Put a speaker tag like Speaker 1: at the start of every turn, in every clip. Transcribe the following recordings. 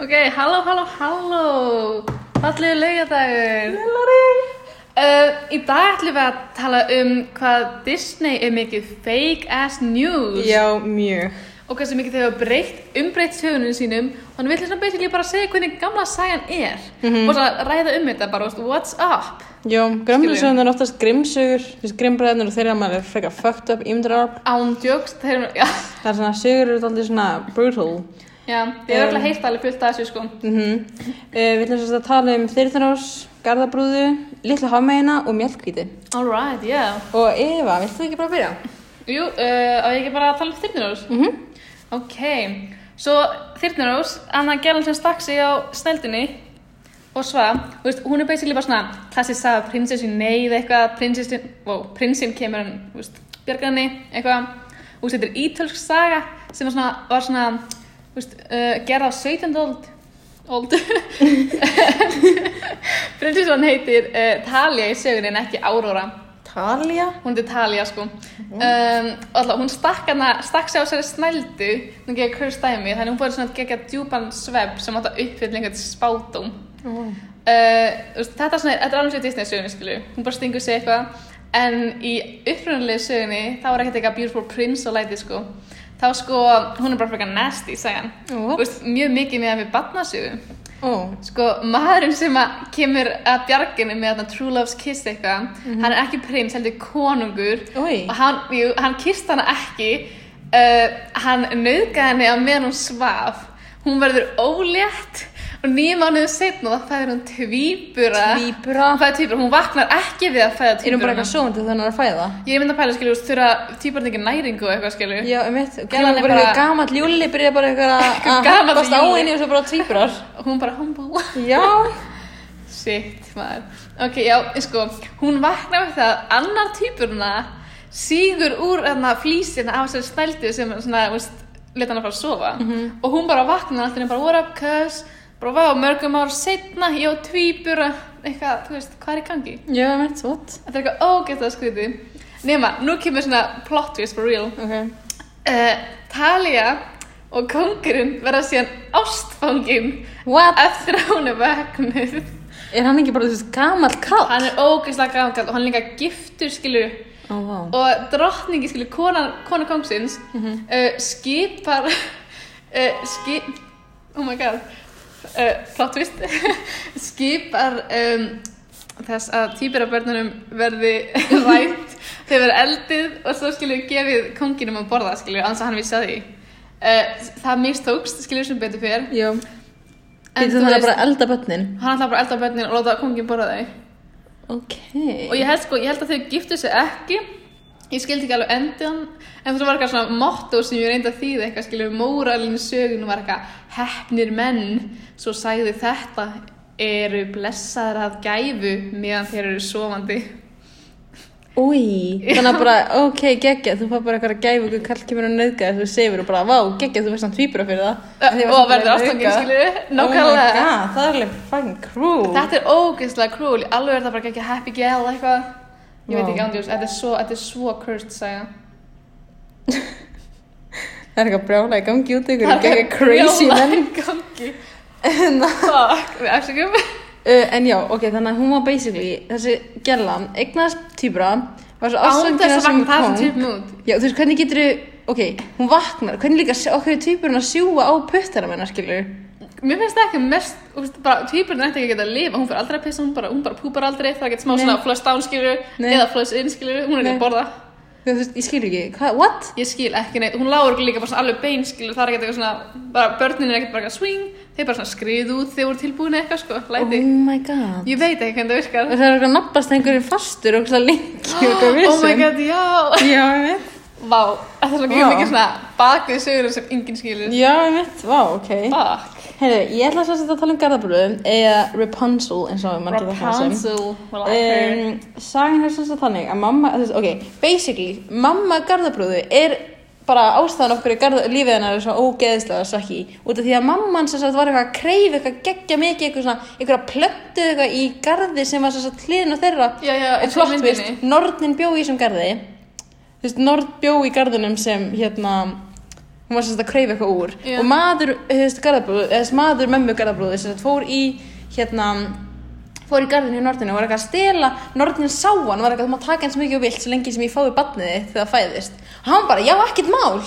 Speaker 1: Ok, halló, halló, halló Fallegu laugadagur
Speaker 2: Hillary
Speaker 1: uh, Í dag ætlum við að tala um hvað Disney er mikið fake ass news
Speaker 2: Já, mjög
Speaker 1: og hversu mikið þau hafa breytt, umbreytt sögunum sínum og hann vill svona basically bara segja hvernig gamla sagan er
Speaker 2: Mhm.
Speaker 1: og svona ræða um þetta bara, veist, what's up
Speaker 2: Já,
Speaker 1: Skilur.
Speaker 2: grömmlisöðun er oftast grimmsugur Þú veist, grimmbræðnir og þeirra maður er frekar fucked up ímyndararp
Speaker 1: ándjóks, þeir eru, já,
Speaker 2: Það er svona, sögur eru alltaf svona brutal
Speaker 1: já þeir eru
Speaker 2: Um.
Speaker 1: alltaf heilt alveg fullt af þessu sko
Speaker 2: mm Við ætlum sérst að tala um þyrðinós, garðabrúðu, litla hafmeina og mjölkvíti
Speaker 1: alright, yeah
Speaker 2: Og Eva, vilt þú ekki bara byrja?
Speaker 1: Jú, uh, á ég ekki bara að tala um þyrnirós?
Speaker 2: Mm -hmm.
Speaker 1: Ok, svo Þyrnirós, annan gælan sem stakk sig á sneldinni og svað, þú veist, hún er basically bara svona klassist að prinsessu neyð eitthvað, prinsessin, wow, prinsinn kemur hann, þú veist, björgarni, eitthvað, þú veist, þetta er ítölsk saga sem var svona, var svona, þú veist, uh, gerð á 17. old, old, prinsessan heitir uh, Talia í sögunni en ekki Aurora,
Speaker 2: Talía
Speaker 1: hún heitir Talia sko um, og alltaf hún stakk hana stakk sig á sér snældu hún geði cursed dæmi þannig hún fór í svona gegja djúpan svepp sem átt að uppfylla einhvern spátum uh,
Speaker 2: oh.
Speaker 1: þú veist, þetta, er svona, þetta er alveg sér Disney sögunni skilu hún bara stingur sig eitthvað en í upprunalegu sögunni þá er ekkert eitthvað beautiful prince og læti sko þá sko hún er bara frekar nasty sagan Þú
Speaker 2: What?
Speaker 1: veist, mjög mikið með að við batnasögum
Speaker 2: Oh.
Speaker 1: Sko, maðurinn sem að kemur að bjarginu með þarna True Love's Kiss eitthvað, hann er ekki prins, heldur konungur
Speaker 2: Oj.
Speaker 1: og hann, jú, hann kýrst hana ekki, uh, hann nauðgæði henni á meðan hún svaf, hún verður ólétt og nýjum mánuðu setna þá fæður hún tvíbura,
Speaker 2: Tvíbura
Speaker 1: hún fæður tvíbura, hún vaknar ekki við að fæða
Speaker 2: Erum bara
Speaker 1: tvíburana.
Speaker 2: eitthvað sjóðandi þannig að fæða
Speaker 1: Ég myndi að pæla, skilju, þurfa tvíburna ekki næringu og eitthvað, skilju.
Speaker 2: Já, um eitt,
Speaker 1: Gælan er
Speaker 2: bara
Speaker 1: bara-
Speaker 2: eitthvað gamall júli, byrja bara eitthvað að- að
Speaker 1: gamall
Speaker 2: hampast á
Speaker 1: júlli.
Speaker 2: henni og svo bara tvíbrar.
Speaker 1: Hún bara, hann búa.
Speaker 2: Já.
Speaker 1: Sitt maður. Ok, já, sko, hún vaknar við það að annar týpurna sígur úr þarna flísina af sér snældu sem svona, þú veist, leta hann að fara að sofa. Og hún bara vaknar alltaf bara, what up, cuz, bara vá, mörgum ár setna, já, týpura, eitthvað, þú veist, hvað er í gangi?
Speaker 2: Já, um eitt, what?
Speaker 1: Þetta er eitthvað ógætt að skriði. Nema, nú kemur svona plot twist for real.
Speaker 2: Ok.
Speaker 1: Uh, Talia og kongurinn verða síðan ástfangin
Speaker 2: What?
Speaker 1: eftir að hún er vaknuð.
Speaker 2: Er hann ekki bara þessi gamall kall?
Speaker 1: hann er ógeðslega gammal og hann er líka giftur skilur
Speaker 2: Ó, vá.
Speaker 1: og drottningi skilur kona, kona kongsins
Speaker 2: Mhm.
Speaker 1: uh, skipar uh, skip oh my god uh, plot twist skipar um, þess að týpir af börnunum verði rætt þau verða eldið og svo skilur gefið konginum að borða skilur annars að hann vissi að því uh, það mistókst skilur sem betur fyrir
Speaker 2: Jú. Býttu þannig að bara elda börnin.
Speaker 1: hann ætlaði bara að elda börnin og láta kongin borða þau
Speaker 2: Ok.
Speaker 1: og ég held sko, ég held að þau giftu sig ekki ég skildi ekki alveg endan en það var eitthvað svona motto sem ég reyndi að þýða eitthvað skilur móralinu sögun var eitthvað hefnir menn svo sagði þetta eru blessaðar að gæfu meðan þeir eru sofandi
Speaker 2: Új. Þannig að bara, ok, geggja, þú fær bara eitthvað að gæfa ykkur kall kemur og nöðga þess að þú sefur og bara, vá, geggja, þú veist hann tvíbura fyrir það. Af því að
Speaker 1: og
Speaker 2: varst
Speaker 1: verður
Speaker 2: bara að
Speaker 1: ástangin
Speaker 2: nauðga.
Speaker 1: skilur
Speaker 2: Oh my
Speaker 1: nákvæmlega
Speaker 2: god, það er alveg fucking cruel.
Speaker 1: þetta er ógeðslega krúl alveg er það bara ekki happy gal eitthvað ég veit
Speaker 2: Vá.
Speaker 1: ekki ándjós, þetta er svo, þetta er svo cursed saga
Speaker 2: Það er eitthvað brjála í gangi út ykkur,
Speaker 1: Það er
Speaker 2: geggja crazy
Speaker 1: brjálað
Speaker 2: menn.
Speaker 1: í gangi
Speaker 2: En það-
Speaker 1: fuck, við afsökum
Speaker 2: Uh, en já, ok, þannig að hún var basically, þessi gellan, eignast týpura, var svo
Speaker 1: án
Speaker 2: ástöngina
Speaker 1: þess að
Speaker 2: sem
Speaker 1: vakna það er
Speaker 2: kong.
Speaker 1: sem typum út
Speaker 2: Já, þú veist, hvernig getur þú, ok, hún vaknar, hvernig líka s- okkur týpurinn að sjúga á puttana menna, skilur?
Speaker 1: Mér finnst það ekki mest, þú veist, bara týpurinn ætti ekki að geta að lifa, hún fyrir aldrei að pissa, hún bara, hún bara púpar aldrei, það er ekkert smá
Speaker 2: Nei.
Speaker 1: svona flush down skilur,
Speaker 2: Nei.
Speaker 1: eða flush in skilur, hún er ekki að
Speaker 2: Nei.
Speaker 1: borða.
Speaker 2: Þú veist, ég skilur ekki, hvað, what?
Speaker 1: Ég skil ekki neitt, hún lágur líka bara svona alveg bein skilur, það er ekkert eitthvað svona, bara börnin er ekkert bara eitthvað swing, þeir bara svona skriðu út þegar voru tilbúin eitthvað sko, læti.
Speaker 2: Oh my god.
Speaker 1: Ég veit ekki hvernig það virkar.
Speaker 2: Og það er okkur að nabbast einhverjum fastur og okkur lengi og okkur
Speaker 1: Oh
Speaker 2: vissum.
Speaker 1: my god, já.
Speaker 2: Já, ég veit.
Speaker 1: Vá, það er
Speaker 2: Vá.
Speaker 1: svona mikið svona bakvið sögur sem enginn skilur.
Speaker 2: Já, ég veit, vá, ok.
Speaker 1: Fuck.
Speaker 2: Heyrðu, ég ætla sem sagt að tala um Garðabröðu, eða Rapunzel, eins og mann getur það sem.
Speaker 1: Rapunzel, well I heard.
Speaker 2: um, sagan er sem sagt þannig að mamma, þú veist, ok, basically mamma garðabrúðu er bara ástæðan okkur í garða, lífið hennar er svona ógeðslega svaki, út af því að mamman sem sagt var eitthvað að kreyfa eitthvað geggja mikið eitthvað svona, eitthvað plöntu eitthvað í garði sem var sem sagt hliðin á þeirra
Speaker 1: Já, já,
Speaker 2: og
Speaker 1: eins og í
Speaker 2: plott, þú
Speaker 1: myndinni.
Speaker 2: veist, nornin bjó í þessum garði þú veist, norn bjó í garðinum sem hérna hún var sem sagt að kreyfa eitthvað úr
Speaker 1: Já.
Speaker 2: og maður, hefðist, garðabróðu, hefðist, maður mömmu garðabróðu sem sagt fór í hérna fór í garðinu í nortinu og var eitthvað að stela nortinu sá hann, var eitthvað þú maður taka eins mikið og vilt svo lengi sem ég fái barnið þitt þegar það fæðist og hann bara, já, ekkert mál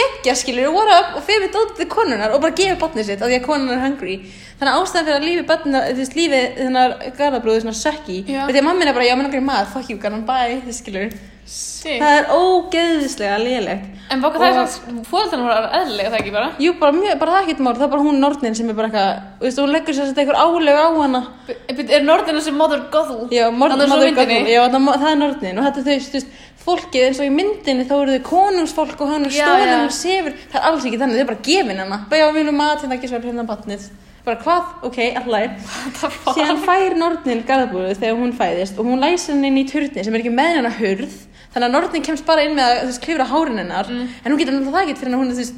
Speaker 2: geggja skilur, what up, og fyrir dótið konunar og bara gefur barnið sitt af því að konunar er hungry þannig að ástæðan fyrir að lífi barnið, þú veist, lífi þennar garðabróðu svona sökki,
Speaker 1: Já.
Speaker 2: því að mammin er bara, já, menn okkur maður, fuck you, garðan, bye, þú skilur
Speaker 1: Sitt.
Speaker 2: það er ógeðislega lélegt
Speaker 1: En bóka það
Speaker 2: Og-
Speaker 1: er svona, fóðan voru eðlilega það ekki bara.
Speaker 2: Jú, bara, mjög, bara það er ekkert mál, það er bara hún nornin sem er bara eitthvað, þú veist, hún leggur sér þetta einhver áleg á hana.
Speaker 1: B- b- Er norðinu sem Mother Gothel?
Speaker 2: Já, morð,
Speaker 1: Þannig að svo
Speaker 2: maður
Speaker 1: myndinni.
Speaker 2: gagnum, já, það, það er nornin og þetta er þau, þú veist, fólkið eins og í myndinni þá eru þau konungsfólk og hann er
Speaker 1: Já,
Speaker 2: stólinn
Speaker 1: já.
Speaker 2: og sefur, það er alls ekki þannig, þau er bara gefin hana, bara já, við viljum mat, hérna ekki svar hérna batnið, bara hvað, ok, allar.
Speaker 1: Það var-
Speaker 2: Síðan fær nornin garðabúðu þegar hún fæðist og hún læsir hann inn í turni sem er ekki með hennar hurð þannig að nornin kemst bara inn með að þú veist, klifra hárin hennar
Speaker 1: Mm.
Speaker 2: en hún getur náttúrulega það ekki fyrir en hún er þú veist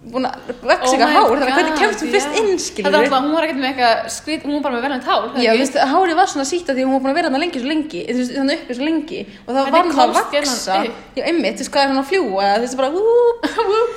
Speaker 2: búin að vex
Speaker 1: Oh
Speaker 2: eitthvað
Speaker 1: my
Speaker 2: hár þannig
Speaker 1: God,
Speaker 2: að hvernig kemst hún fyrst
Speaker 1: já.
Speaker 2: inn
Speaker 1: Þetta
Speaker 2: skilur
Speaker 1: er alltaf, hún var ekkert með eitthvað skrít, hún var bara með veljönd hár. það
Speaker 2: Já,
Speaker 1: ekki?
Speaker 2: þú veist, hárið var svona sítt af því að hún var búin að vera þarna lengi svo lengi, þú veist, þannig uppi svo lengi og það
Speaker 1: Hvernig
Speaker 2: var hann að
Speaker 1: komst genan
Speaker 2: vaksa
Speaker 1: upp?
Speaker 2: Já, einmitt, þú veist, hvað er hann að fljúa eða þú veist, bara, ú,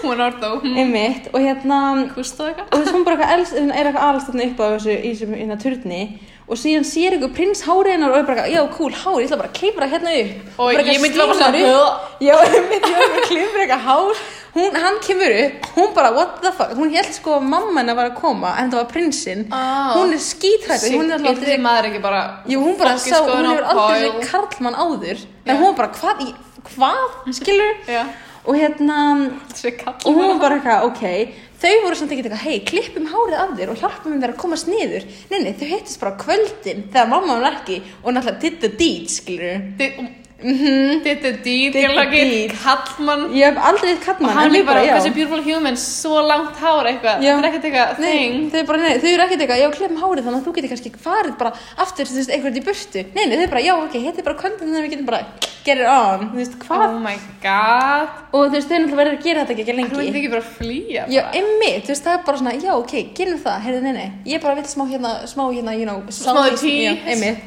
Speaker 1: hún var orðið og hún
Speaker 2: einmitt og hérna,
Speaker 1: kustið eitthvað.
Speaker 2: og þess hún bara eitthvað elst, hún er eitthvað alast þarna upp á þessu, í þessum hérna turni og síðan sér einhver prins hárið hennar og er bara eitthvað, já, cool, hár, ég ætla bara að klifra hérna upp
Speaker 1: Og
Speaker 2: bara
Speaker 1: ég myndi bara
Speaker 2: slímar
Speaker 1: svona,
Speaker 2: upp. já, ég myndi bara að klifra eitthvað hár hún, hann kemur upp, hún bara, what the fuck hún held sko að mamma hennar var að koma en það var prinsinn,
Speaker 1: Ah.
Speaker 2: hún er skítrætt hún er
Speaker 1: Yldi því
Speaker 2: alltaf,
Speaker 1: maður ekki bara...
Speaker 2: jú, hún bara
Speaker 1: fucking
Speaker 2: sá, hún
Speaker 1: skoðun á
Speaker 2: hefur aldrei
Speaker 1: coil.
Speaker 2: sér karlmann áður
Speaker 1: Já.
Speaker 2: en hún bara, hvað, í- hvað, skilur
Speaker 1: Já.
Speaker 2: og hérna,
Speaker 1: Þessi kall.
Speaker 2: og hún var bara eitthvað, ok þau voru samt ekkert eitthvað, hei, klippum hárið af þér og hjálpum þeir að komast niður nei, nei, þau hittist bara á kvöldin þegar mamma var ekki og náttúrulega did the deed, skilur Mhm.
Speaker 1: Þetta er dýr,
Speaker 2: Diddy
Speaker 1: gælagi,
Speaker 2: Deed.
Speaker 1: kallmann.
Speaker 2: ég hef aldrei hitt kallmann
Speaker 1: Og hann
Speaker 2: en
Speaker 1: er bara,
Speaker 2: já.
Speaker 1: þessi beautiful human, svo langt hár eitthvað.
Speaker 2: Já.
Speaker 1: Þetta er ekkert eitthvað
Speaker 2: Nei,
Speaker 1: thing.
Speaker 2: þau, bara, nei, þau eru ekkert eitthvað, já, klippum hárið þannig að þú getur kannski farið bara aftur, þú veist, einhvern í burtu nei, nei, þau bara, já, ok, hitti bara kvöldin þannig að við getum bara get it on, þú veist, hvað
Speaker 1: Oh my god.
Speaker 2: og þú veist, þau náttúrulega verður að gera þetta ekki
Speaker 1: Þú
Speaker 2: lengi
Speaker 1: myndi ekki bara flýja
Speaker 2: Já,
Speaker 1: bara.
Speaker 2: einmitt, þú veist, það er bara svona, já, ok, gerum það, heyrðu, nei, nei, ég bara vill smá hérna, smá hérna, you know, southeast-
Speaker 1: tea.
Speaker 2: Já, einmitt.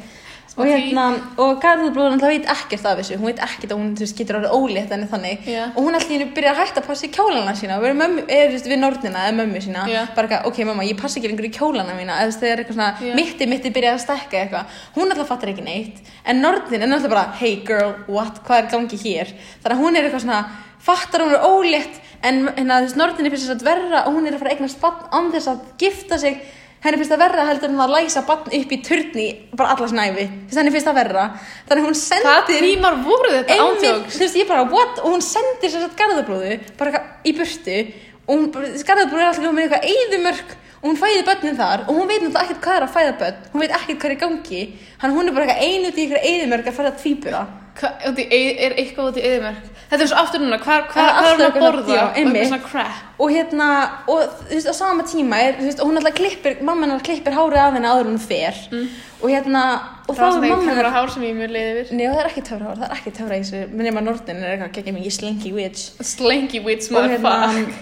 Speaker 1: Smá
Speaker 2: Og
Speaker 1: tea.
Speaker 2: hérna, og Garðarbróður náttúrulega veit ekkert af þessu, hún veit ekkert að hún, þú veist, getur orðið ólétt henni þannig.
Speaker 1: Já.
Speaker 2: Og hún allir henni byrja að hætta að passa í kjólana sína, verið mömmu, eða, þú veist, við nornina eða mömmu sína.
Speaker 1: Já.
Speaker 2: Bara eitthvað, ok, mamma, ég passa ekki lengur í kjólana mína, eða þú veist, þegar eitthvað
Speaker 1: Já.
Speaker 2: svona, mitti, mitti byrja að stekka eitthvað. Hún alltaf fattar ekki neitt, en nornin er alltaf bara, hey girl, what, hvað er í gangi hér? Þannig að hún er eitthvað svona, fattar að hún er ólétt, en hérna, þú veist, nornin er fyrst að verra og hún er að fara að eignast barn án þess að gifta sig henni finnst það verra heldur en að læsa barn upp í turni bara allas næfi þess að henni finnst það verra þannig að hún sendir
Speaker 1: Hvað tímar voru þetta
Speaker 2: einmitt,
Speaker 1: ántjóks?
Speaker 2: þú veist, ég bara, what? Og hún sendir sér satt garðabrúðu, bara eitthvað í burtu og hún, garðabrúðu er alltaf komin með eitthvað eyðumörk og hún fæði börnin þar og hún veit náttúrulega ekkert hvað er að fæða börn hún veit ekkert hvað er í gangi hann hún er bara eitthvað einu út í eitthvað eyðumörk að fæða tvíbura
Speaker 1: Er eitthvað út í eðimörk? Þetta er svo aftur núna, hvað
Speaker 2: Það er
Speaker 1: er hún
Speaker 2: alltaf
Speaker 1: að
Speaker 2: eitthvað-
Speaker 1: borða?
Speaker 2: já,
Speaker 1: Og eitthvað
Speaker 2: einmitt.
Speaker 1: svona crap.
Speaker 2: og hérna, og þú veist, á sama tíma er, þú veist, og hún alltaf klippir, mamma hennar klippir hárið af henni áður en hún fer og hérna, og
Speaker 1: Mm. Það
Speaker 2: þá
Speaker 1: var
Speaker 2: er
Speaker 1: svona
Speaker 2: mamma
Speaker 1: eitthvað
Speaker 2: hennar
Speaker 1: töfra hár sem ég mjög leiði yfir.
Speaker 2: Nei, það er ekki töfra hár, það er ekki töfra í þessu, minn nema nornin er eitthvað geggjum í slinky witch
Speaker 1: Slanky wits,
Speaker 2: og
Speaker 1: maður
Speaker 2: hérna,
Speaker 1: fuck.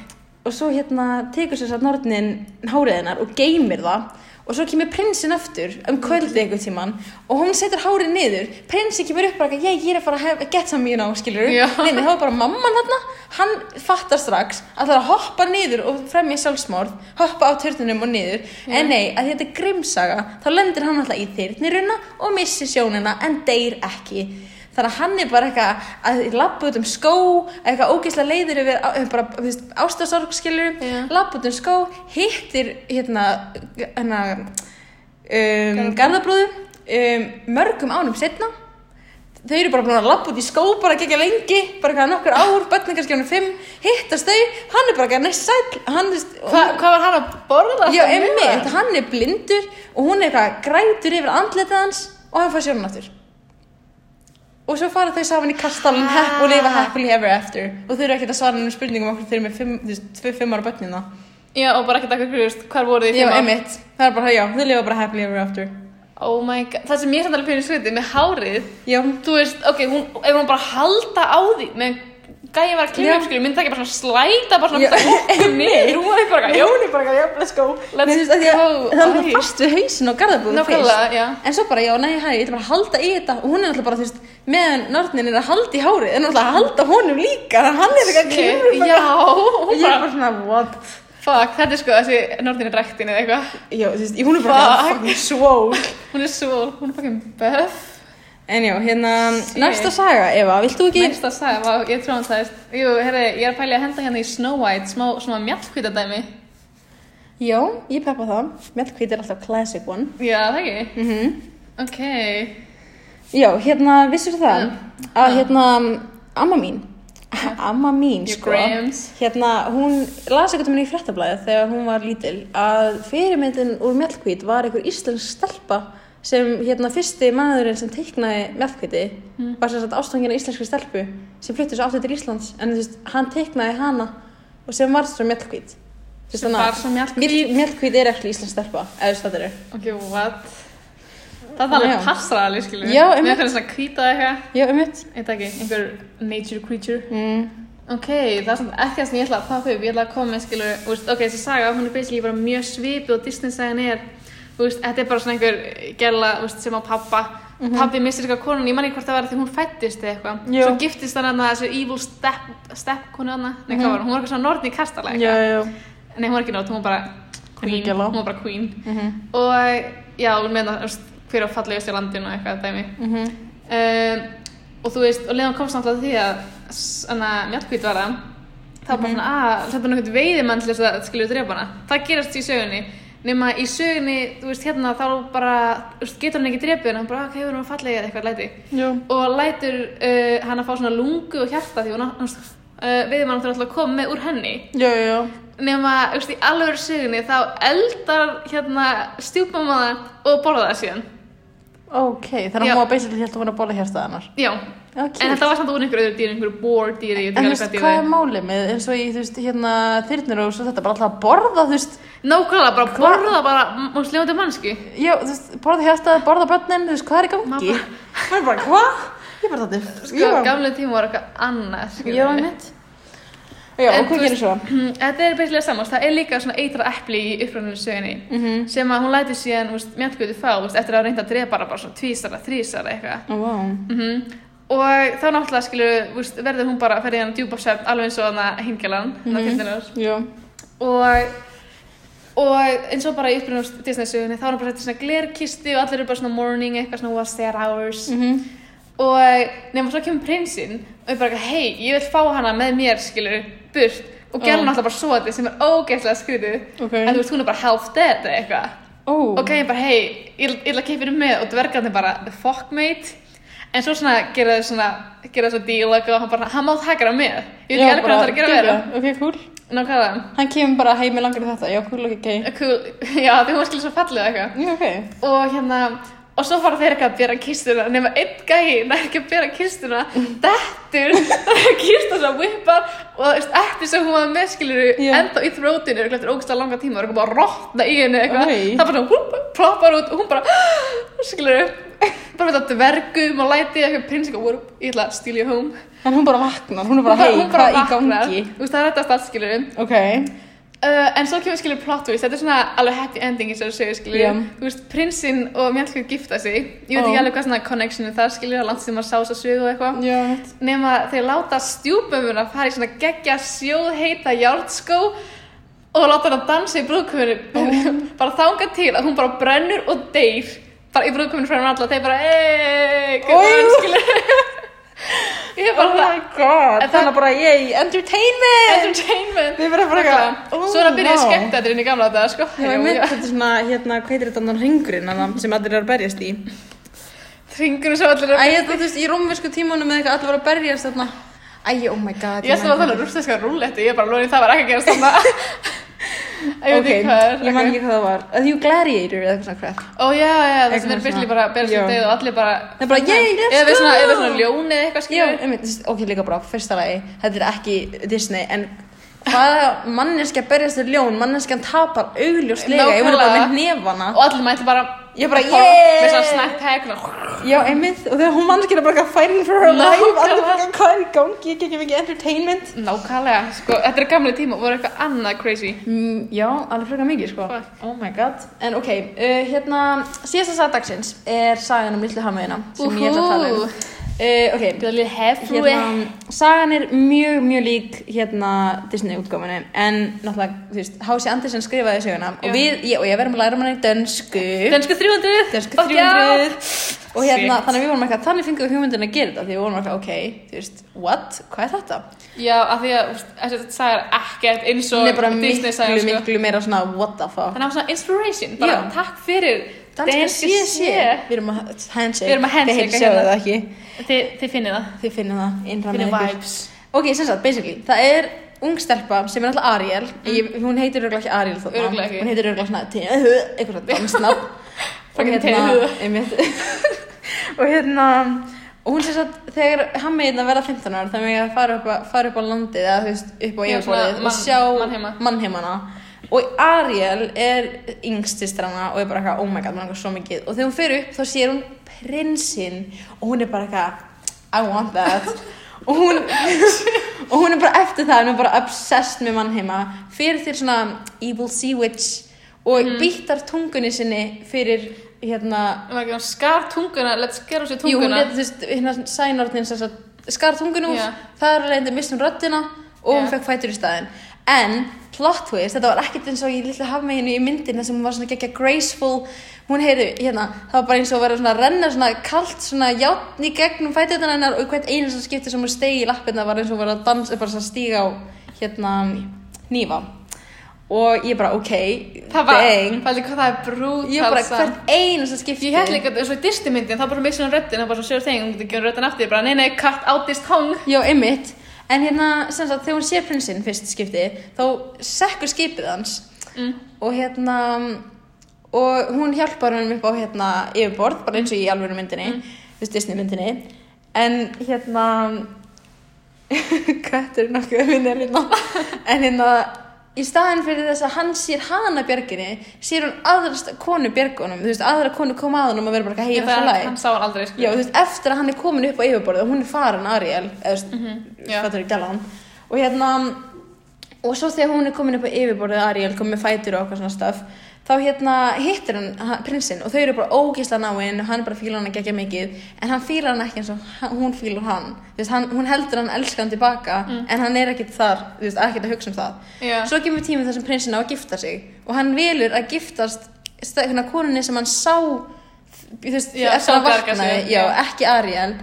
Speaker 2: og svo hérna tekur sér satt nornin hárið hennar og geymir það og svo kemur prinsinn aftur um kvöldi einhvern tíman og hún setur hárið niður prinsinn kemur upp bara eitthvað, ég, ég er að fara að hef- get some you know, skilur
Speaker 1: Já.
Speaker 2: neina, það var bara mamman þarna hann fattar strax að það er að hoppa niður og fremja sjálfsmorð hoppa á törnunum og niður en nei, að þetta er grimsaga þá lendir hann alltaf í þyrniruna og missir sjónina en deyr ekki Þannig að hann er bara eitthvað að labba út um skó, eitthvað ógeðslega leiður yfir á- bara, þú veist, ástasorgskilur,
Speaker 1: Já.
Speaker 2: labba út um skó, hittir hérna, hérna um, garðabróðu um, mörgum ánum setna. Þau eru bara búin að labba út í skó bara gegja lengi, bara eitthvað nokkur ár, börnin kannski hann fimm, hittast þau, hann er bara eitthvað næst sæll, hann, þú veist,
Speaker 1: Hva, hvað var hann að borða?
Speaker 2: Já,
Speaker 1: þarna núna?
Speaker 2: einmitt, hann er blindur og hún er eitthvað grætur yfir andlitið hans og hann fær sjónan aftur. Og svo fara þau saman í kastalinn hepp og lifa happily ever after. Og þau eru ekkert að svara um spurningum okkur þau eru með fimm, þú veist, tvö fimm ára börnina.
Speaker 1: Já, og bara ekkert eitthvað grúst, hvað voru þið í
Speaker 2: Já,
Speaker 1: fimm ár?
Speaker 2: einmitt. Það er bara, já, þau lifa bara happily ever after.
Speaker 1: Oh my god, það sem ég samt alveg fyrir skrítið með hárið,
Speaker 2: Já,
Speaker 1: þú veist, ok, hún, ef hún bara halda á því með gæði var að
Speaker 2: Já.
Speaker 1: kemja upp skilju, myndi það ekki bara svona slæta bara svona
Speaker 2: Já,
Speaker 1: okkur niður og það er bara eitthvað,
Speaker 2: Jón er bara, já, let's go Nei, þú veist, af því að
Speaker 1: go,
Speaker 2: það er alltaf
Speaker 1: æ.
Speaker 2: fast við hausin og garðabúðum
Speaker 1: Nákvæmlega, já.
Speaker 2: En svo bara, já, nei, hæ, ég ætla bara að halda í þetta Og hún er alltaf bara, þú veist, meðan nörnin er að halda í hárið En alltaf að halda honum líka Þannig að hann er ekki að
Speaker 1: jú
Speaker 2: kemur
Speaker 1: já, og
Speaker 2: Og ég er
Speaker 1: bara,
Speaker 2: bara svona, what
Speaker 1: fuck, þetta er sko þessi norðinu dræktin eða eitthvað
Speaker 2: Já, þú veist, hún er bara "Ah,
Speaker 1: Fuck.
Speaker 2: fucking svól
Speaker 1: hún er svo, hún er fucking buff
Speaker 2: En já, hérna, næsta saga, Eva, vilt þú ekki
Speaker 1: næsta saga, vá, ég trúan það jú, herri, ég er að pæli að henda hérna í Snow White smá, smá mjallkvítadæmi
Speaker 2: Já, ég peppa það Mjallkvít er alltaf classic one
Speaker 1: já, það ekki,
Speaker 2: mm
Speaker 1: ok
Speaker 2: Já, hérna, vissur það Að
Speaker 1: Mm.
Speaker 2: hérna, amma mín Amma mín,
Speaker 1: Your
Speaker 2: sko
Speaker 1: grams.
Speaker 2: Hérna, hún las eitthvað minni í fréttablaðið þegar hún var lítil að fyrirmyndin úr mjallkvít var einhver íslensk stelpa sem hérna fyrsti maðurinn sem teiknaði mjallkvíti var sem sagt ástangina íslenskri stelpu sem flutti svo aftur til Íslands en þú veist, hann teiknaði hana og sem var svo mjallkvít Þú veist
Speaker 1: Sem
Speaker 2: þannig
Speaker 1: var svo mjallhvít.
Speaker 2: mjall- mjallhvít er ekki íslensk stelpa eða þú veist það eru
Speaker 1: ok, what það er alveg
Speaker 2: Já.
Speaker 1: passar alveg, skilju
Speaker 2: Já,
Speaker 1: með
Speaker 2: einmitt.
Speaker 1: eitthvað svona kvítað eitthvað
Speaker 2: Já, um mitt
Speaker 1: Ég veit það ekki, einhver nature creature
Speaker 2: mm.
Speaker 1: Ok, það er svona ekki það sem ég ætla að taka upp Ég ætla að koma með skilur, þú veist, ok, þessi saga hún er basically bara mjög svipu og Disney-sagan er þú veist, þetta er bara svona einhver gæla veist, sem á pappa Pappi missir eitthvað konun, ég man ekki hvort það var því hún fættist eða eitthvað
Speaker 2: Jú.
Speaker 1: Svo giftist hann að þessu evil step, step konu hann Nei, hvað var hún? Hún var eitthvað svona nortn í kastala eitthvað
Speaker 2: já
Speaker 1: Nei, hún var ekki nortn, hún var bara
Speaker 2: Hún er
Speaker 1: queen
Speaker 2: gæla.
Speaker 1: Hún var bara queen
Speaker 2: mm -hmm.
Speaker 1: Og já, hún meina, þú veist, hver á fallegust í landinu og eitthvað dæmi
Speaker 2: Mm
Speaker 1: um, og þú veist, og leiðan komst náttúrulega að því að s- hana, mjallhvít var það þá bara svona, að þetta er náttúrulega veiðimann til þess að skilju drepa hana, það gerast í sögunni nema í sögunni, þú veist, hérna þá bara, þú veist, getur hann ekki drepið hana, hann bara, "Ah, ok, hefur hann fallegið eða eitthvað læti
Speaker 2: Já
Speaker 1: og lætur uh, hann að fá svona lungu og hjarta því hún á- hún, uh, veiðimann átti náttúrulega að koma með úr henni
Speaker 2: Já, já,
Speaker 1: nema, þú veist, í alvöru sögunni þá eldar hérna stjúpmamaðan og borða það síðan
Speaker 2: ok, þannig að
Speaker 1: Já.
Speaker 2: hún var basically helt að hún var að bóla hérstað hennar
Speaker 1: já,
Speaker 2: Ok.
Speaker 1: En þetta var samt úr einhverju öðru dýri, einhverju bór dýri, ég veit
Speaker 2: En þú
Speaker 1: ekki alveg
Speaker 2: veist,
Speaker 1: hvað
Speaker 2: hvað er
Speaker 1: dýri.
Speaker 2: málið með eins og í, þú veist, hérna þyrnir og svo þetta bara alltaf að borða, þú veist,
Speaker 1: Nákvæmlega, bara borða bara, hún sljóði mannski.
Speaker 2: já, þú veist, borða hérstaði, borða börnin, þú veist, hvað er í gangi?
Speaker 1: Mamma.
Speaker 2: Það er bara, hvað? Ég bara þetta,
Speaker 1: Sko, gamlega tíma var eitthvað annað, skiljum
Speaker 2: ég var mitt. Já,
Speaker 1: En
Speaker 2: og
Speaker 1: þú
Speaker 2: hvað gerir
Speaker 1: veist-
Speaker 2: svo?
Speaker 1: Þetta er beinslega samast, það er líka svona eitra epli í upprönninu sögunni,
Speaker 2: Mhm.
Speaker 1: sem að hún læti síðan, þú veist, mjölkvöldu fá, þú veist, eftir að hafa reyndi að drepa bara, bara svona tvísara, þrísara eitthvað.
Speaker 2: Ó, vá.
Speaker 1: Mm Og þá náttúrulega, skiljum, veist, verður hún bara, ferði hann djúpa svefn, alveg eins og hann að hingjalan, hann að
Speaker 2: Mhm. Já.
Speaker 1: og og eins og bara í upprýnum Disney-sögunni þá er hann bara þetta svona glerkisti og allir eru bara svona morning, eitthvað svona what's their hours
Speaker 2: Mhm.
Speaker 1: og nema svo kemur prinsinn og er bara eitthvað, hei, ég vil fá hana með mér, skilur, burt og gerði
Speaker 2: Oh.
Speaker 1: hann alltaf bara svo þetta sem er ógeðslega skrítið
Speaker 2: Ok.
Speaker 1: en þú veist, hún er bara half dead eða eitthvað
Speaker 2: Ó.
Speaker 1: og gæði bara, hei, ég ég ætla að keipa henni með og dvergarnir bara, "The fuck mate en svo svona gera þau svona gera þau svona deal og hann bara, hann má taka hana með ég veit ekki
Speaker 2: Já,
Speaker 1: alveg hvað
Speaker 2: bara,
Speaker 1: hann þarf að gera
Speaker 2: geggjað.
Speaker 1: vera
Speaker 2: Ok, cool.
Speaker 1: nákvæmlega
Speaker 2: Hann kemur bara heim með langar í þetta, já, cool, ok, ok.
Speaker 1: Cool. Já, því hún skilur svo fallið eða eitthvað.
Speaker 2: Já, ok.
Speaker 1: Og hérna, og svo fara þeir eitthvað að bera kistuna, nema einn gæi nær ekki að bera kistuna, dettur, kistan sem vippar og þú veist, eftir sem hún var með, skilur,
Speaker 2: Já.
Speaker 1: enda í þrótinu, eitthvað eftir ógæslega langa tíma, og eitthvað bara að rotna í henni eitthvað. Það
Speaker 2: Oj.
Speaker 1: bara svona, húp, ploppar út og hún bara, skilur, bara með það dvergum og læti eitthvað prins eitthvað, "Whoop, ég ætla að steal you home.
Speaker 2: En hún bara vaknar, hún er bara, hei,
Speaker 1: hún bara
Speaker 2: hvað í
Speaker 1: vaknar.
Speaker 2: gangi?
Speaker 1: Þú veist, það er þetta allt, skilur,
Speaker 2: Ok.
Speaker 1: Uh, en svo kemur skilur plot twist, þetta er svona alveg happy ending eins og þú segir skilur,
Speaker 2: Já.
Speaker 1: þú veist, prinsinn og mjölkur gifta sig, ég veit
Speaker 2: Ó.
Speaker 1: ekki alveg hvað svona connectionu það skilur, það langt sem maður sá þess að sögu og eitthvað,
Speaker 2: Já, mitt.
Speaker 1: nema þeir láta stjúpöfun að fara í svona geggja sjóð heita járnskó og láta hann að dansa í brúðkuminu, bara þanga til að hún bara brennur og deyr, bara í brúðkuminu frá hann alla, þeir bara, eeeey, gæðan
Speaker 2: Oj.
Speaker 1: skilur, ég er
Speaker 2: Oh
Speaker 1: bara
Speaker 2: my
Speaker 1: það,
Speaker 2: god,
Speaker 1: En það-
Speaker 2: þannig bara yay, entertainment
Speaker 1: entertainment,
Speaker 2: Við verðum bara eitthvað, ó,
Speaker 1: svo er að byrja
Speaker 2: vá.
Speaker 1: skemmt þetta inn í gamla þetta, sko,
Speaker 2: Ég var mynd, þetta er svona, hérna, hvað heitir þetta annan ringurinn annan sem allir eru að berjast í
Speaker 1: Ringur sem allir
Speaker 2: Æ,
Speaker 1: eru
Speaker 2: þetta, þú veist, í rómversku tímunum eða eitthvað allir voru að berjast þarna Æ, oh my god
Speaker 1: Ég ætla að tala um rústinska rúlletti, ég er bara lóðin það var ekki að gerast þarna Ég veit ekki
Speaker 2: Ok,
Speaker 1: hvað er
Speaker 2: ég man
Speaker 1: ok.
Speaker 2: ekki hvað það var Að því gladiator eða eitthvað svona crap
Speaker 1: Ó já, já, það sem
Speaker 2: Eitthvað
Speaker 1: er byrli
Speaker 2: svona.
Speaker 1: bara að bera
Speaker 2: Já.
Speaker 1: sér degið og allir bara
Speaker 2: Það er bara, yay, let's
Speaker 1: Eða við svona,
Speaker 2: go!
Speaker 1: eða við svona ljóni eða eitthvað
Speaker 2: Já,
Speaker 1: skilur
Speaker 2: einmitt, þú veist, ok, líka bara, fyrsta lagi, þetta er ekki Disney, en hvaða manneskja berjast við ljón, manneskjan tapar augljóslega, ég voru bara
Speaker 1: Nákvæmlega.
Speaker 2: með nefana
Speaker 1: Og allir mætti bara
Speaker 2: Ég bara,
Speaker 1: Með
Speaker 2: yeah!
Speaker 1: svona snap hack og
Speaker 2: Já, einmitt, og þegar hún mannskina bara eitthvað fighting for her life,
Speaker 1: Nákvæmlega.
Speaker 2: allir bara eitthvað, hvað er í gangi, ég ekki mikið entertainment.
Speaker 1: Nákvæmlega, sko, þetta er gamlega tíma og voru eitthvað annað crazy.
Speaker 2: Mm, já, alveg frekar mikið, sko.
Speaker 1: Fuck.
Speaker 2: Oh my god. En ok, uh, hérna, síðasta saga dagsins er sagan um litlu hamaðina, sem ég ætla að tala um. Uh, ok,
Speaker 1: Gjöðlið hefru.
Speaker 2: hérna, sagan er mjög, mjög lík hérna Disney útgáminu en náttúrulega, þú veist, Hási Andersen skrifaði söguna
Speaker 1: Já.
Speaker 2: og við, ég, og ég verðum að læra manni dönsku,
Speaker 1: Dönsku 300.
Speaker 2: dönsku
Speaker 1: Fuck
Speaker 2: 300 og hérna, þannig að við vorum eitthvað, þannig fengum við hugmyndin að gera þetta því við vorum eitthvað, ok, þú veist, what, hvað er þetta?
Speaker 1: Já, af því að úst, þessi- þetta sagar ekkert eins og
Speaker 2: Hún er bara miklu,
Speaker 1: Disney sagar, sko.
Speaker 2: miklu meira svona what the fuck
Speaker 1: Þannig að það var svona inspiration, bara
Speaker 2: Já.
Speaker 1: takk fyrir
Speaker 2: Danska E.
Speaker 1: Danske
Speaker 2: sé sé
Speaker 1: sé.
Speaker 2: Við erum að
Speaker 1: E.
Speaker 2: handshake
Speaker 1: Við erum að handshake
Speaker 2: Þið sjáu
Speaker 1: hérna.
Speaker 2: það ekki
Speaker 1: Þið, þið finnið það.
Speaker 2: Þið finnum það innra með
Speaker 1: Finnið
Speaker 2: ykkur
Speaker 1: vibes.
Speaker 2: Ok, sem sagt, basically, það er ung stelpa sem er alltaf Ariel, ég, hún heitir örgulega ekki Ariel þarna,
Speaker 1: Mm. Örugglega ekki.
Speaker 2: hún heitir örgulega svona til- eitthvað svona dansnafn og
Speaker 1: Fucking
Speaker 2: hérna,
Speaker 1: til-
Speaker 2: einmitt og hérna og hún sem sagt, þegar hann með hérna verða 15 ára, það með að fara upp, að, fara upp á landið eða þú veist, upp á
Speaker 1: Já, svona
Speaker 2: yfirborðið og
Speaker 1: mann-
Speaker 2: sjá
Speaker 1: mannheima.
Speaker 2: mannheimana og Ariel er yngstistrana og er bara eitthvað, oh my god, mann eitthvað svo mikið og þegar hún fer upp þá sér hún prinsinn og hún er bara eitthvað, I want that og hún og hún er bara eftir það, hún er bara obsessed með mannheima, fyrir þér svona evil sea witch og býttar tungunni sinni fyrir hérna
Speaker 1: Það var ekki, hún skar tunguna, let's skera úr sér
Speaker 2: Jú, hún
Speaker 1: tunguna.
Speaker 2: er, þú veist, hérna sænarnin sem sagt skar tungun úr,
Speaker 1: Já.
Speaker 2: það er leiðandi missum röddina og hún
Speaker 1: Já.
Speaker 2: fekk fætur í staðinn. En, plot twist, þetta var ekkert eins og í litlu hafmeginu í myndin þar sem hún var svona geggja graceful, hún heyrðu, hérna, það var bara eins og verið svona að renna svona kalt svona játn í gegnum fæturna hennar og hvert einu svona skipti sem hún stegi í lappirna var eins og verið að dansa, bara svona stíga á, hérna, nýfa. Og ég bara, ok,
Speaker 1: Það var,
Speaker 2: dang.
Speaker 1: fældi hvað það er brútal
Speaker 2: Ég bara, hvert einu svona skipti.
Speaker 1: Ég held líka eins og í distimyndin, það bara missir hann röddin, það bara svo sér þeng, hún getur ekki röddin aftur, bara nei, nei, cut out this tongue.
Speaker 2: Já, einmitt. En hérna, sem sagt, þegar hún sér prinsinn fyrst skipti, þá sekkur skipið hans
Speaker 1: Mm.
Speaker 2: og hérna, og hún hjálpar hann upp á hérna yfirborð, bara eins og í alvöru myndinni, þú veist, Disney myndinni. En hérna, kvættur nokkuð minn er hérna, en hérna, í staðin fyrir þess að hann sér hana björginni, sér hún aðra st- konu björgunum, þú veist, aðra konu koma að honum og vera bara eitthvað
Speaker 1: Ég
Speaker 2: heila
Speaker 1: það, hann sá hann aldrei, sko.
Speaker 2: Já, þú veist, eftir að hann er komin upp á yfirborðið og hún er farin Ariel, eða þú veist,
Speaker 1: Mhm, já.
Speaker 2: fattur ekki gæla hann. Og hérna, og svo þegar hún er komin upp á yfirborðið Ariel, komin með fætur og okkar svona stöf, þá hérna hittir hann, hann prinsinn og þau eru bara ógisla náinn og hann bara fílar hann ekki ekki mikið, en hann fílar hann ekki eins og hann- hún fílar hann. Þú veist, hann, hún heldur hann elskan tilbaka, en hann er ekkit þar, þú veist, ekkit að hugsa um það.
Speaker 1: Mm. Já.
Speaker 2: Svo kemur tímið þar sem prinsinn á að gifta sig og hann velur að giftast sta- hérna konunni sem hann sá þú veist,
Speaker 1: Já,
Speaker 2: eftir
Speaker 1: sá
Speaker 2: að hann
Speaker 1: bjarga
Speaker 2: vaknaði,
Speaker 1: sér,
Speaker 2: já,
Speaker 1: já.
Speaker 2: ekki Ariel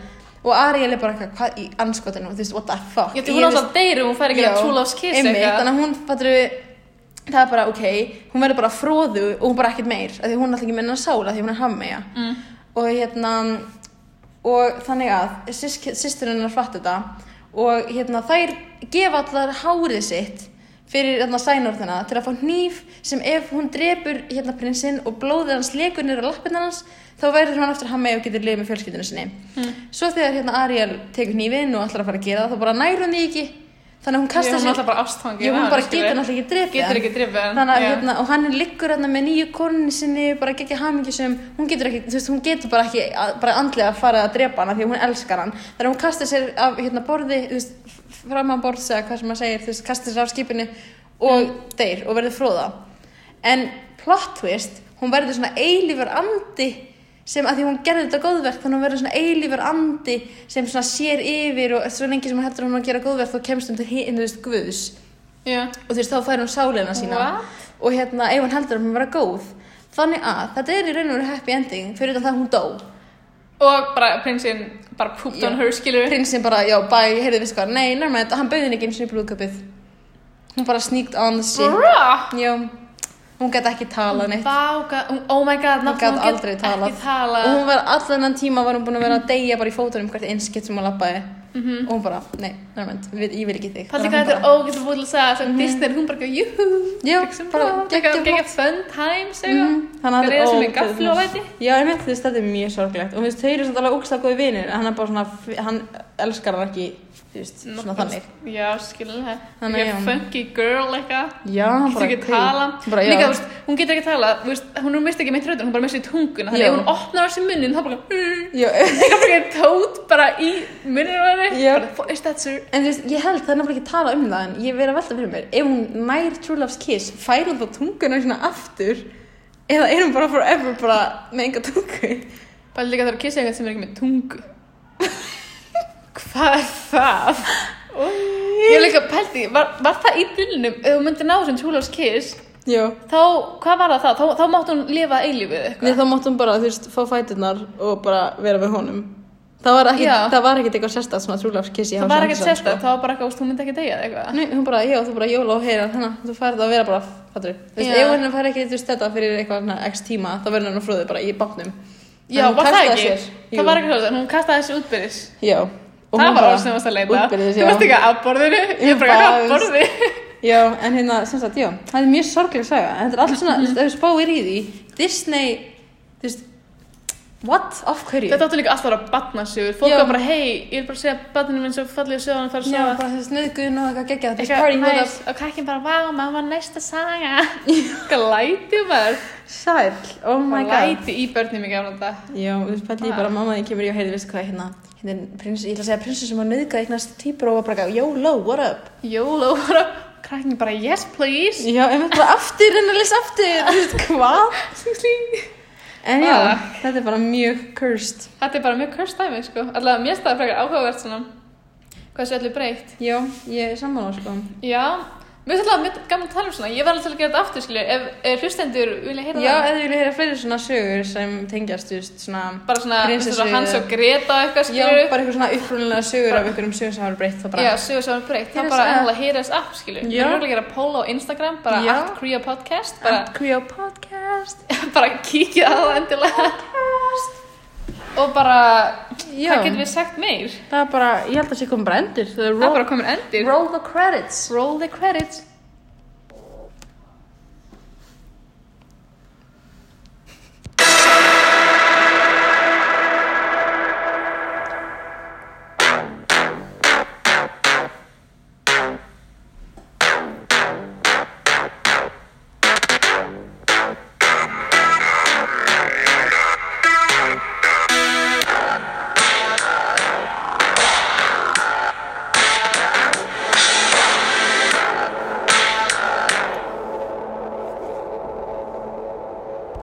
Speaker 2: og Ariel er bara eitthvað, hvað í anskotunum, þú veist, what the fuck
Speaker 1: Ég þú hún
Speaker 2: Ég, þú
Speaker 1: alltaf deyru, hún fær ekki að true love's kiss
Speaker 2: einmitt, þannig að hún fattur það er bara, ok, hún verður bara fróðu og hún bara ekkert meir, af því hún er alltaf ekki með hennar sála, því hún er hammeja
Speaker 1: Mm.
Speaker 2: og hérna og þannig að sýsturinn hennar fatt þetta og hérna þær gefa allar hárið sitt fyrir hérna sænorðina til að fá hníf sem ef hún drepur hérna prinsinn og blóðið hans lekur niður á lappin hans þá verður hann aftur hann með og getur lifið með fjölskyldinu sinni
Speaker 1: Hmm.
Speaker 2: svo þegar hérna Ariel tekur hnífin og allar að fara að gera það þá bara nær hún því ekki þannig að hún
Speaker 1: Kasta
Speaker 2: kastar
Speaker 1: hún alltaf bara ástfangi.
Speaker 2: Jú, hún bara getur náttúrulega ekki drefið
Speaker 1: Getur ekki drefið hann.
Speaker 2: Þannig að
Speaker 1: já.
Speaker 2: hérna, og hann liggur hérna með nýju konunni sinni, bara ekki hamingjusum, hún getur ekki, þú veist, hún getur bara ekki, að, bara andlega að fara að drepa hana því að hún elskar hann. Þannig að hún kastar sér af hérna borði, þú veist, fram á borðs eða hvað sem maður segir, þú veist, kastar sér af skipinu og
Speaker 1: Mm.
Speaker 2: deyr og verður fróða. En plot twist, hún verður svona eilífur andi sem að því hún gerði þetta góðverk þannig að hún verður svona eilífur andi sem svona sér yfir og svo lengi sem hún heldur að hún er að gera góðverk þá kemst hún til hinn, þú veist, guðs
Speaker 1: Já.
Speaker 2: og þú veist þá fær hún sálina sína
Speaker 1: What?
Speaker 2: og hérna ef hún heldur að hún vera góð þannig að þetta er í raun og veru happy ending fyrir þetta að hún dó
Speaker 1: Og bara prinsinn bara pooped
Speaker 2: Já.
Speaker 1: on her, skilur.
Speaker 2: prinsinn bara já bæ, heyrðu veist hvað, nei nærmætt hann bauði henni ekki eins og í brúðköpið hún bara sneaked on the ship
Speaker 1: Bruh!
Speaker 2: já, hún gæti ekki talað neitt
Speaker 1: Vá, gat- hún- oh my god,
Speaker 2: hún
Speaker 1: náttúrulega
Speaker 2: gæti aldrei talað
Speaker 1: ekki talað.
Speaker 2: og hún var allan þennan tíma var hún búin að vera að deyja bara í fótunum hvert einskitt sem hún lappaði og hún bara, nei, nærmætt, ég vil ekki þig
Speaker 1: Paldi
Speaker 2: Bara
Speaker 1: Mhm. hvað
Speaker 2: hún
Speaker 1: þetta er
Speaker 2: bara-
Speaker 1: ógæslega búin að segja sem Disney, hún bara ekki, júhú,
Speaker 2: Já, Mhm. bara geggjað
Speaker 1: gegja fun times eitthvað.
Speaker 2: Mhm, þannig
Speaker 1: Það
Speaker 2: að
Speaker 1: er
Speaker 2: þetta-
Speaker 1: eða sem
Speaker 2: ó,
Speaker 1: er gaflu á
Speaker 2: þetta er-
Speaker 1: læti.
Speaker 2: Já, ég meint þú veist, þetta er mjög sorglegt og þú veist, þau eru samt alveg ógst að góði vinir en hann er bara svona, hann elskar hann ekki þú veist, svona þannig
Speaker 1: Já, skilja það
Speaker 2: Þannig,
Speaker 1: Ég
Speaker 2: já.
Speaker 1: er funky girl eitthvað
Speaker 2: Já,
Speaker 1: Hún getur ekki
Speaker 2: hey.
Speaker 1: tala
Speaker 2: bara,
Speaker 1: Líka,
Speaker 2: já.
Speaker 1: þú veist, hún getur ekki tala þú veist, Hún mist ekki meitt röddun, hún bara mistir tunguna Þannig
Speaker 2: Já.
Speaker 1: ef hún opnar á sér munnin, þá bara
Speaker 2: Já,
Speaker 1: Það er ekki tót bara í munninu á henni
Speaker 2: Já.
Speaker 1: Bara, Is that sir?
Speaker 2: En þú veist, ég held það er nefnilega ekki að tala um það en ég verið að velta fyrir mér, ef hún nær True Love's Kiss, fær hún þá tunguna svona aftur eða er hún bara forever bara með enga tungu
Speaker 1: Bara líka það er að kissa eitthvað sem er ekki með tungu Hvað er það? Ég er líka pælt í, var, var það í bylnum ef hún myndi ná sem Trúlás Kiss
Speaker 2: Já,
Speaker 1: þá, hvað var það þá? Þá, þá mátt hún lifa eilífið
Speaker 2: Nei,
Speaker 1: eitthvað
Speaker 2: þá máttum bara, þú veist, fá fæturnar og bara vera með honum Það var ekkit,
Speaker 1: Já.
Speaker 2: það var ekkit eitthvað sérstætt svona True Love's Kiss í sko.
Speaker 1: Það
Speaker 2: House
Speaker 1: var
Speaker 2: of
Speaker 1: ekkert
Speaker 2: Hamilton,
Speaker 1: sérstætt, það var bara eitthvað, þú myndi ekki degja eitthvað
Speaker 2: Nei, hún bara, já, þú bara jóla og heyra hana, þú færð að vera bara, fattur Þú veist,
Speaker 1: Já.
Speaker 2: ef hún fær ekki, þú veist, þetta fyrir eitthvað hana, x tíma, þá verður hann að fróðu bara í bátnum
Speaker 1: Já,
Speaker 2: En hún
Speaker 1: var það
Speaker 2: kastaði
Speaker 1: ekki?
Speaker 2: sér. Jú.
Speaker 1: Það var ekki svo, en hún kastaði þessi útbyrðis
Speaker 2: Já Og
Speaker 1: Það
Speaker 2: hún
Speaker 1: var
Speaker 2: bara-
Speaker 1: alls nefnast að leita Þú
Speaker 2: útbyrðis, já.
Speaker 1: veist ekki að borðinu, ég
Speaker 2: Ég
Speaker 1: er bara
Speaker 2: bara-
Speaker 1: að borði
Speaker 2: Já, en hérna, sem sagt, já, það er mjög sorgleg saga, en þetta er allt svona, þú
Speaker 1: Mhm.
Speaker 2: veist, ef við spáir í því, Disney, þú veist, what, af hverju?
Speaker 1: Þetta áttu líka alltaf að batna sigur Fólk
Speaker 2: Já.
Speaker 1: var bara, hei, ég er bara að segja batninu minn svo fallið og sögðan að fara að
Speaker 2: Já,
Speaker 1: sofa
Speaker 2: bara þessi snöðgun og eitthvað geggjað, þetta er
Speaker 1: Eitthvað
Speaker 2: party with us.
Speaker 1: næst og krakkin bara, vá, maður var næsta saga Glæti maður
Speaker 2: Sæl, oh my god.
Speaker 1: Glæti í börnum í gamla dag
Speaker 2: Já, þú veist, pæli ég bara, mamma þín kemur í og heyrði, veistu hvað, hérna, hérna, er prins, ég ætla að segja prinsessum að nöðga eignast týpur og var bara, eitthvað, YOLO, what up?
Speaker 1: Jóló bara, krakkin bara, yes please
Speaker 2: Já, ef þetta bara aftur, en að lesa aftur, þú veist, hvað?
Speaker 1: Sling, sling.
Speaker 2: En já,
Speaker 1: Ah.
Speaker 2: þetta er bara mjög cursed.
Speaker 1: Þetta er bara mjög cursed dæmi, sko Allavega mér staði frekar áhugavert svona Hvað þessu öllu breytt
Speaker 2: Já, ég er sammála, sko.
Speaker 1: Já, mér finnst alltaf mjög gaman að tala um svona Ég var alveg til að gera þetta aftur, skilju Ef, ef hlustendur vilja heyra
Speaker 2: Já,
Speaker 1: það
Speaker 2: eða ég vilja heyra fleiri svona sögur sem tengjast, þú veist, svona
Speaker 1: Bara svona,
Speaker 2: prinsessu-
Speaker 1: prinsessu... svona hans og Greta og eitthvað,
Speaker 2: Já,
Speaker 1: skilju
Speaker 2: bara eitthvað svona upprúnulega sögur af einhverjum sögur sem hafa verið breytt þá bara
Speaker 1: Já, sögur sem er breytt Það
Speaker 2: Heyra
Speaker 1: er bara
Speaker 2: þess
Speaker 1: ennlega heyra þess app, skilju Við
Speaker 2: Já.
Speaker 1: erum örugglega að gera poll á Instagram Bara
Speaker 2: Já.
Speaker 1: at Kriya Podcast bara,
Speaker 2: Creo Podcast
Speaker 1: bara kíkja á það endilega Og bara,
Speaker 2: Já,
Speaker 1: hvað getum við sagt meir?
Speaker 2: það er bara, ég held að sé komið bara endur Það er
Speaker 1: Það er
Speaker 2: roll,
Speaker 1: bara komin endir
Speaker 2: roll the credits
Speaker 1: Roll the credits